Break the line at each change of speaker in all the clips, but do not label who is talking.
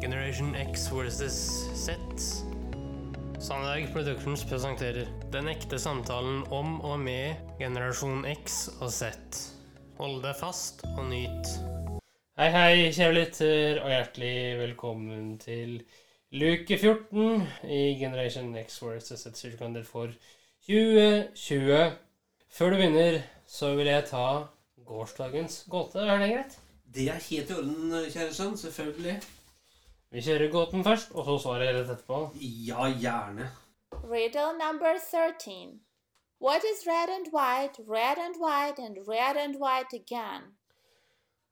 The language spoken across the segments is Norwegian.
Generation X versus Z. Sandberg Productions presenterer Den ekte samtalen om og med generasjon X og Z. Hold deg fast og nyt. Hei, hei, kjære lytter, og hjertelig velkommen til luke 14 i Generation X versus Z Circulander for 2020. Før du begynner, så vil jeg ta gårsdagens gåte. Er det greit?
Det er helt i orden, kjære sønn. Selvfølgelig.
Vi kjører gåten først, og så svaret rett etterpå.
Ja, gjerne.
Riddle number 13. What is red and white, red and white, and red and white again?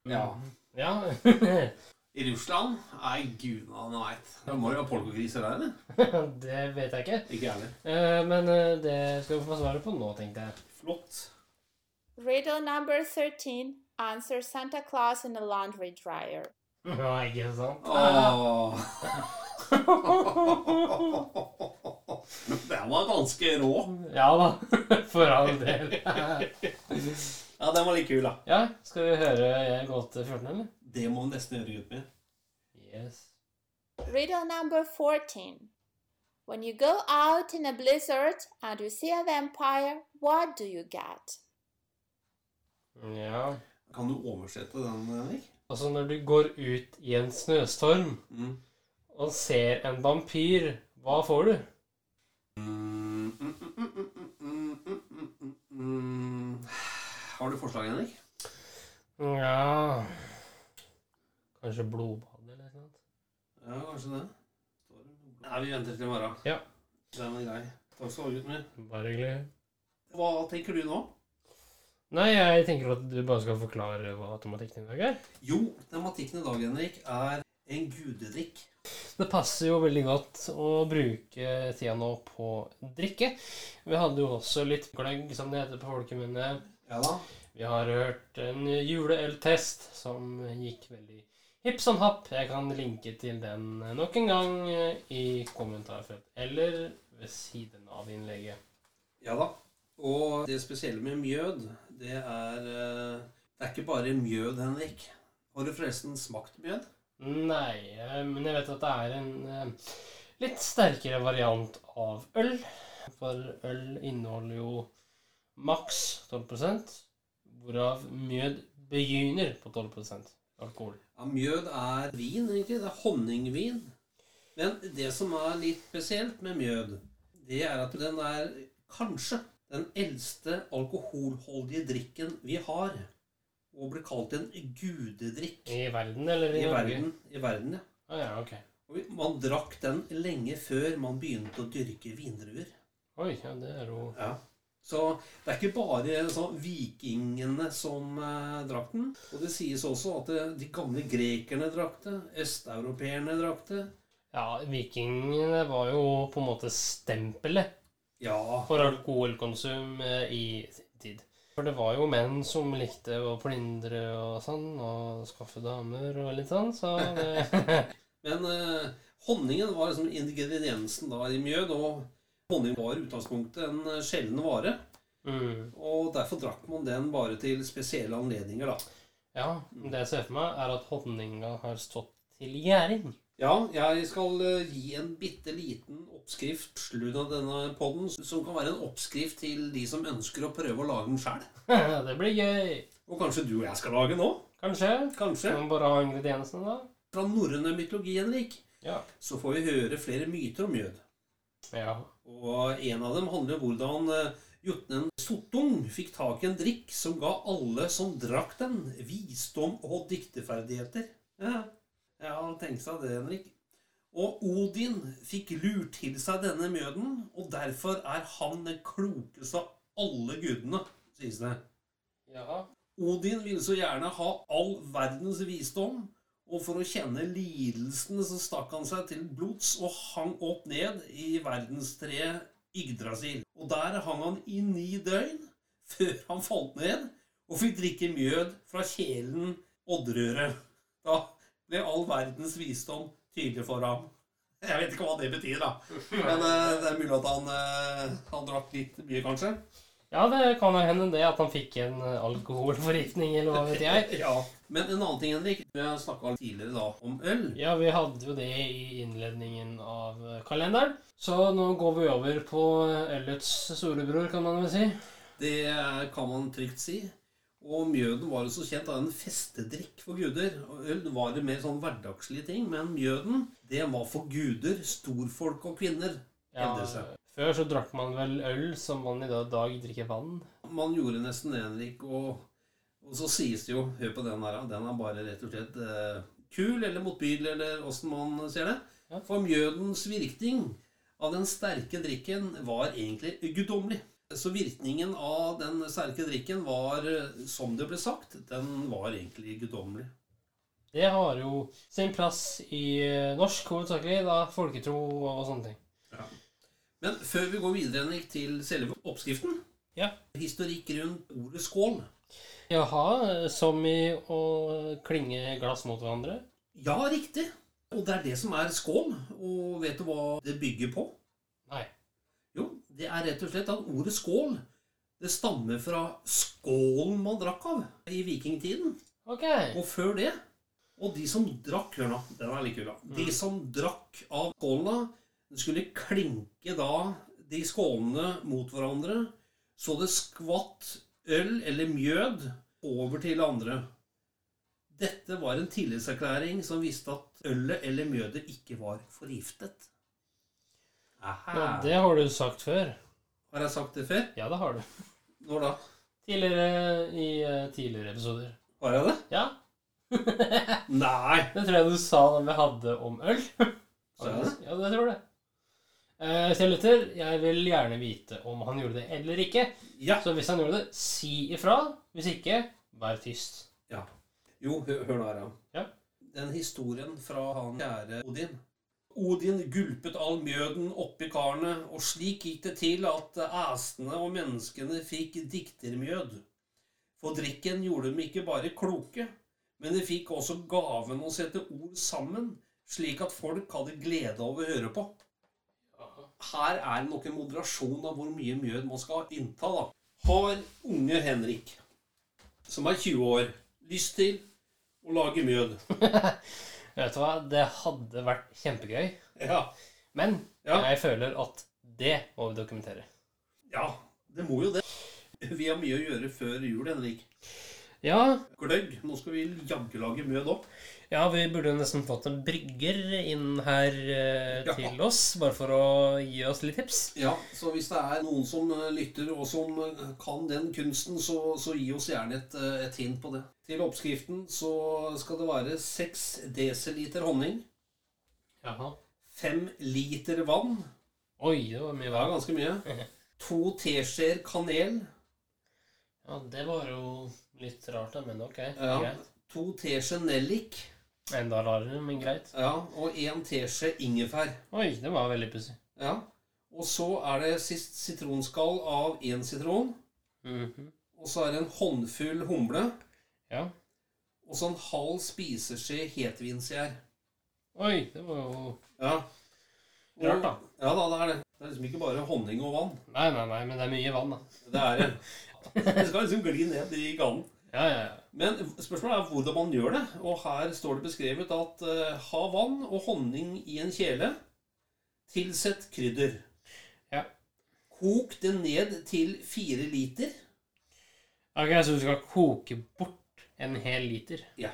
Ja.
Ja.
Mm. I Russland? Nei, gudene han veit. Det må jo ha polkogriser der, eller?
det vet jeg ikke.
Ikke gjerne.
Eh, Men eh, det skal vi få svaret på nå, tenkte jeg.
Flott.
Riddle number 13. Answer Santa Claus in a laundry dryer.
Ja, ikke sant?
Åh. Den var ganske rå.
Ja da. For all del.
Ja, den var litt kul, da.
Ja, skal vi høre gåte 14, eh, eller?
Det må vi nesten gjøre, gutten min.
Yes.
Riddle number 14. When you go out in a blizzard and you see a vampire, what do you get?
Ja.
Kan du oversette den, Henrik?
Altså, når du går ut i en snøstorm
Mm.
og ser en vampyr, hva får du?
Mm, mm, mm, mm, mm, mm, mm, mm, mm, mm. Har du forslag, Henrik?
Ja Kanskje blodbad eller noe sånt?
Ja, kanskje det. Nei, vi venter til i morgen.
Ja.
Den er grei. Takk skal du ha, gutten min.
Bare hyggelig.
Hva tenker du nå?
Nei, jeg tenker at du bare skal forklare hva automatikken i dag er.
Jo, tematikken i dag, Henrik, er en gudedrikk.
Det passer jo veldig godt å bruke tida nå på drikke. Vi hadde jo også litt gløgg, som det heter på folkemunne.
Ja da.
Vi har hørt en juleøltest som gikk veldig hipp som happ. Jeg kan linke til den nok en gang i kommentarfelt eller ved siden av innlegget.
Ja da. Og det spesielle med mjød, det er eh, Det er ikke bare mjød, Henrik. Har du forresten smakt mjød?
Nei, eh, men jeg vet at det er en eh, litt sterkere variant av øl. For øl inneholder jo maks 12 hvorav mjød begynner på 12 alkohol.
Ja, mjød er vin, egentlig. Det er honningvin. Men det som er litt spesielt med mjød, det er at den er kanskje den eldste alkoholholdige drikken vi har. Og blir kalt en gudedrikk
I verden, eller i,
i
Norge?
verden. I verden ja.
Ah, ja, ok.
Og man drakk den lenge før man begynte å dyrke vindruer.
Oi, ja, det er jo
Ja. Så det er ikke bare sånn vikingene som eh, drakk den. Og det sies også at eh, de gamle grekerne drakk det. Østeuropeerne drakk det.
Ja, vikingene var jo på en måte stempelet
Ja.
for alkoholkonsum eh, i sin tid. For det var jo menn som likte å plyndre og sånn, og skaffe damer og litt sånn, så det
Men eh, honningen var liksom ingrediensen da i mjød. Og honning var i utgangspunktet en eh, sjelden vare.
Mm.
Og derfor drakk man den bare til spesielle anledninger, da.
Ja, men det jeg ser for meg, er at honninga har stått til gjæring.
Ja, jeg skal eh, gi en bitte liten oppskrift slutt av denne podden, som kan være en oppskrift til de som ønsker å prøve å lage den sjøl.
det blir gøy.
Og kanskje du og jeg skal lage nå?
Kanskje.
Kanskje.
Skal man bare ha ingrediensene, da?
Fra norrøn mytologi, Henrik,
Ja.
så får vi høre flere myter om mjød.
ja.
Og en av dem handler om hvordan eh, jotnen Sottung fikk tak i en drikk som ga alle som drakk den, visdom og dikteferdigheter. Ja, ja tenk seg det, Henrik. Og Odin fikk lurt til seg denne mjøden, og derfor er han den klokeste av alle gudene, sies det.
Ja.
Odin ville så gjerne ha all verdens visdom, og for å kjenne lidelsene så stakk han seg til blods og hang opp ned i verdenstreet Yggdrasil. Og der hang han i ni døgn før han falt ned og fikk drikke mjød fra kjelen Odderøret. Da ble all verdens visdom tydelig for ham. Jeg vet ikke hva det betyr, da. Men eh, det er mulig at han, eh, han drakk litt mye, kanskje.
Ja, det kan jo hende det at han fikk en eh, alkoholforgiftning, eller hva vet jeg.
Ja. Men en annen ting, Henrik. Vi har snakka tidligere da om øl.
Ja, vi hadde jo det i innledningen av eh, kalenderen. Så nå går vi over på eh, ølets storebror, kan man vel si.
Det kan man trygt si. Og mjøden var jo så kjent av en festedrikk for guder. Og Øl var det mer sånn hverdagslige ting, men mjøden, det var for guder, storfolk og kvinner.
Ja,
Hendelse.
før så drakk man vel øl som man i dag- dag drikker vann.
Man gjorde nesten det, Henrik, og, og så sies det jo Hør på den her, da. den er bare rett og slett eh, kul eller motbydelig, eller åssen man ser det.
Ja.
For mjødens virkning av den sterke drikken var egentlig guddommelig. Så virkningen av den sterke drikken var, eh, som det ble sagt, den var egentlig guddommelig.
Det har jo sin plass i eh, norsk hovedsakelig, da folketro og sånne ting.
Men før vi går videre, Henrik, til selve oppskriften
Ja.
Historikk rundt ordet skål.
Jaha, som i å klinge glass mot hverandre?
Ja, riktig. Og det er det som er skål. Og vet du hva det bygger på?
Nei.
Jo, det er rett og slett at ordet skål det stammer fra skålen man drakk av i vikingtiden.
Ok.
Og før det Og de som drakk Hør nå, den er litt kul, da. De som drakk av skålene, skulle klinke da de skålene mot hverandre, så det skvatt øl eller mjød over til andre. Dette var en tillitserklæring som visste at ølet eller mjødet ikke var forgiftet.
Ja,
Aha.
det har du sagt før.
Har jeg sagt det før?
Ja, det har du.
Når da?
Tidligere i eh, tidligere episoder.
Har jeg det?
Ja,
Nei!
det tror jeg du sa da vi hadde om øl.
Sa jeg det?
Ja, det tror jeg. Eh, Kjell Lytter, jeg vil gjerne vite om han gjorde det eller ikke.
Ja.
Så hvis han gjorde det, si ifra. Hvis ikke, vær tyst.
Ja. Jo, hø- hør nå her,
Ja.
Den historien fra han kjære Odin. Odin gulpet all mjøden oppi karene, og slik gikk det til at æsene og menneskene fikk diktermjød. For drikken gjorde dem ikke bare kloke, men de fikk også gaven å sette ord sammen, slik at folk hadde glede av å høre på. Her er det nok en moderasjon av hvor mye mjød man skal innta, da. Har unge Henrik, som er 20 år, lyst til å lage mjød?
Vet du hva, det hadde vært kjempegøy.
Ja.
Men
Ja.
jeg føler at det må vi dokumentere.
ja. Det må jo det. Vi har mye å gjøre før jul, Henrik.
Ja,
Gløgg. Nå skal vi jaggu lage mjød opp.
ja vi burde jo nesten fått en brygger inn her eh,
Ja.
til oss, bare for å gi oss litt tips.
Ja, så hvis det er noen som eh, lytter og som eh, kan den kunsten, så, så gi oss gjerne et, eh, et hint på det. Til oppskriften så skal det være 6 dl honning,
Jaha.
5 liter vann
Oi, det var mye
Det er
vann.
ganske mye. To teskjeer kanel,
Ja, det var jo litt rart, da, men ok.
ja.
Greit.
to teskjeer nellik
Enda rarere, men greit.
ja. og én teskje ingefær.
Oi, det var veldig pussig.
Ja. Og så er det sist sitronskall av én sitron.
Mhm.
Og så er det en håndfull humle.
Ja.
Og så en halv spiseskje hetvinsgjær.
Oi, det var jo
Ja. Og-
Rart, da.
Ja da, det er det. Det er liksom ikke bare honning og vann.
Nei, nei, nei, men det er mye vann, da.
Det er det. Det skal liksom gli ned i ganen.
Ja, ja, ja.
Men spørsmålet er hvordan man gjør det. Og her står det beskrevet at eh, ha vann og honning i en kjele. Tilsett krydder.
Ja.
Kok det ned til fire liter.
Ok, Så du skal koke bort en hel liter?
Ja.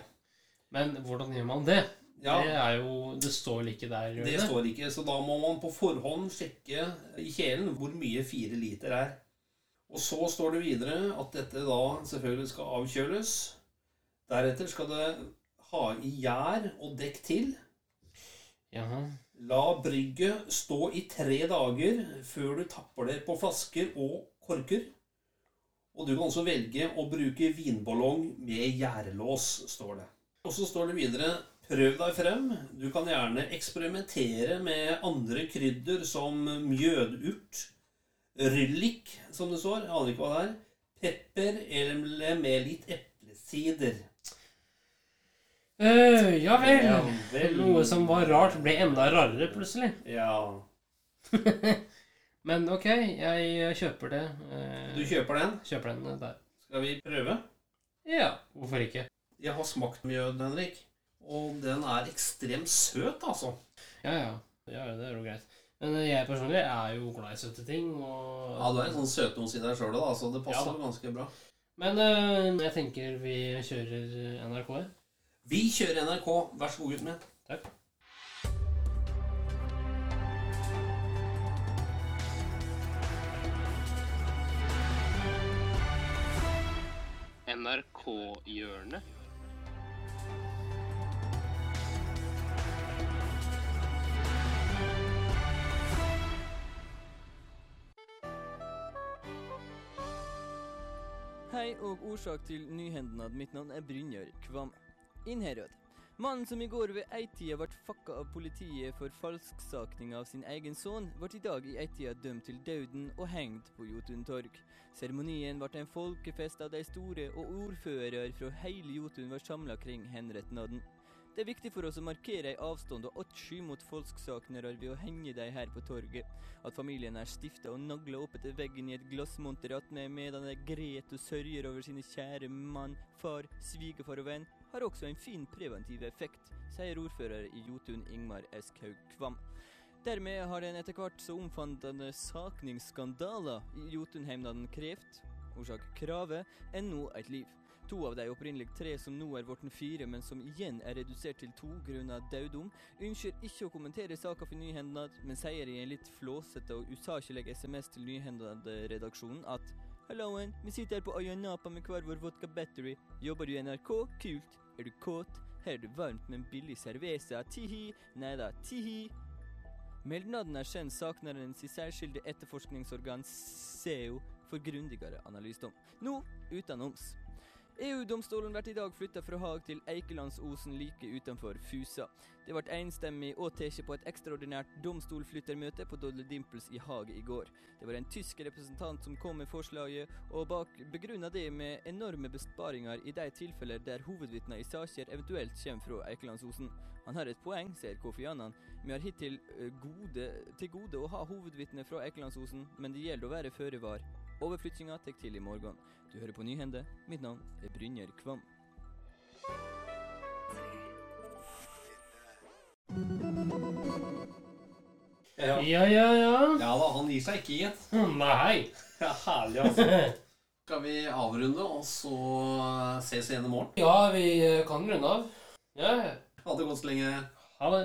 Men hvordan gjør man det?
Ja,
Det er jo Det står vel ikke der? gjør
det står ikke, så da må man på forhånd sjekke i kjelen hvor mye fire liter er. Og så står det videre at dette da selvfølgelig skal avkjøles. Deretter skal det ha i gjær og dekk til.
Jaha.
La brygget stå i tre dager før du tapper det på flasker og korker. Og du kan også velge å bruke vinballong med gjærlås, står det. Og så står det videre prøv deg frem. Du kan gjerne eksperimentere med andre krydder som mjødurt, ryllik, som det står, jeg aner ikke hva det er, pepper eller med litt eplesider.
Øh, ja vel.
Ja vel.
Noe som var rart, ble enda rarere plutselig.
Ja.
Men ok, jeg kjøper det. eh,
Du kjøper den?
kjøper den der.
Skal vi prøve?
Ja, hvorfor ikke?
Jeg har smakt mjød, Henrik. Og den er ekstremt søt, altså.
Ja, ja. ja det er jo greit. Men eh, jeg personlig er jo glad i søte ting. Og,
Ja, du er en sånn søtnos i deg sjøl, da, så det passer
Ja da.
ganske bra.
Men eh, jeg tenker vi kjører eh, NRK. ja.
Vi kjører NRK. Vær så god, gutten min.
Takk. NRK-hjørnet.
Hei og årsak til nyhendene. Mitt navn er Brynjar Kvam. Inn herød. Mannen som i går ved ei-tida ble fakka av politiet for falsksaking av sin egen sønn, ble i dag i ei-tida dømt til døden og hengt på Jotun torg. Seremonien ble en folkefest av de store, og ordførere fra hele Jotun var samla kring henretnaden. Det er viktig for oss å markere ei avstand og åtsky mot falsksaknere ved å henge dem her på torget. At familien er stifta og nagla opp etter veggen i et glassmonter attmed medan det gret og sørger over sine kjære mann, far, svigerfar og venn, har også en fin preventiv effekt, sier ordfører i Jotun Ingmar Eskhaug Kvam. Dermed har den etter hvert så omfattende sakningsskandaler i Jotunheimnaden krevd, orsak kravet, ennå et liv. To av de opprinnelig tre som nå er blitt fire, men som igjen er redusert til to grunnet dødom, ønsker ikke å kommentere saka for Nyhendad, men sier i en litt flåsete og usakelig SMS til Nyhendad-redaksjonen at Halloen, vi sitter her på øya Napa med hver vår vodka battery. Jobber du i NRK? Kult. Er du kåt? Her er det varmt med en billig cerveza. Tihi. Nei da, tihi. Meldnaden er kjent saknarens i særskilde etterforskningsorgan SEO for grundigere analysdom. Nå utenoms. EU-domstolen blir i dag flytta fra Haag til Eikelandsosen like utenfor Fusa. Det ble enstemmig og tatt på et ekstraordinært domstolflyttermøte på Dodle Dimples i Haag i går. Det var en tysk representant som kom med forslaget, og bak begrunna det med enorme besparinger i de tilfeller der hovedvitner i saker eventuelt kommer fra Eikelandsosen. Han har et poeng, sier Kofianan. Vi har hittil ø, gode, til gode å ha hovedvitner fra Eikelandsosen, men det gjelder å være føre var. Overflyttinga tar til i morgen. Du hører på Nyhende. Mitt navn er Brynjer Kvam.
Ja, ja.
Ja, ja, ja.
ja da, han gir seg ikke, gitt.
Nei.
Ja, herlig, altså. Skal vi avrunde, og så ses igjen i morgen?
ja, vi eh, kan runde av. Ja, ja.
Ha det godt så lenge.
ha det.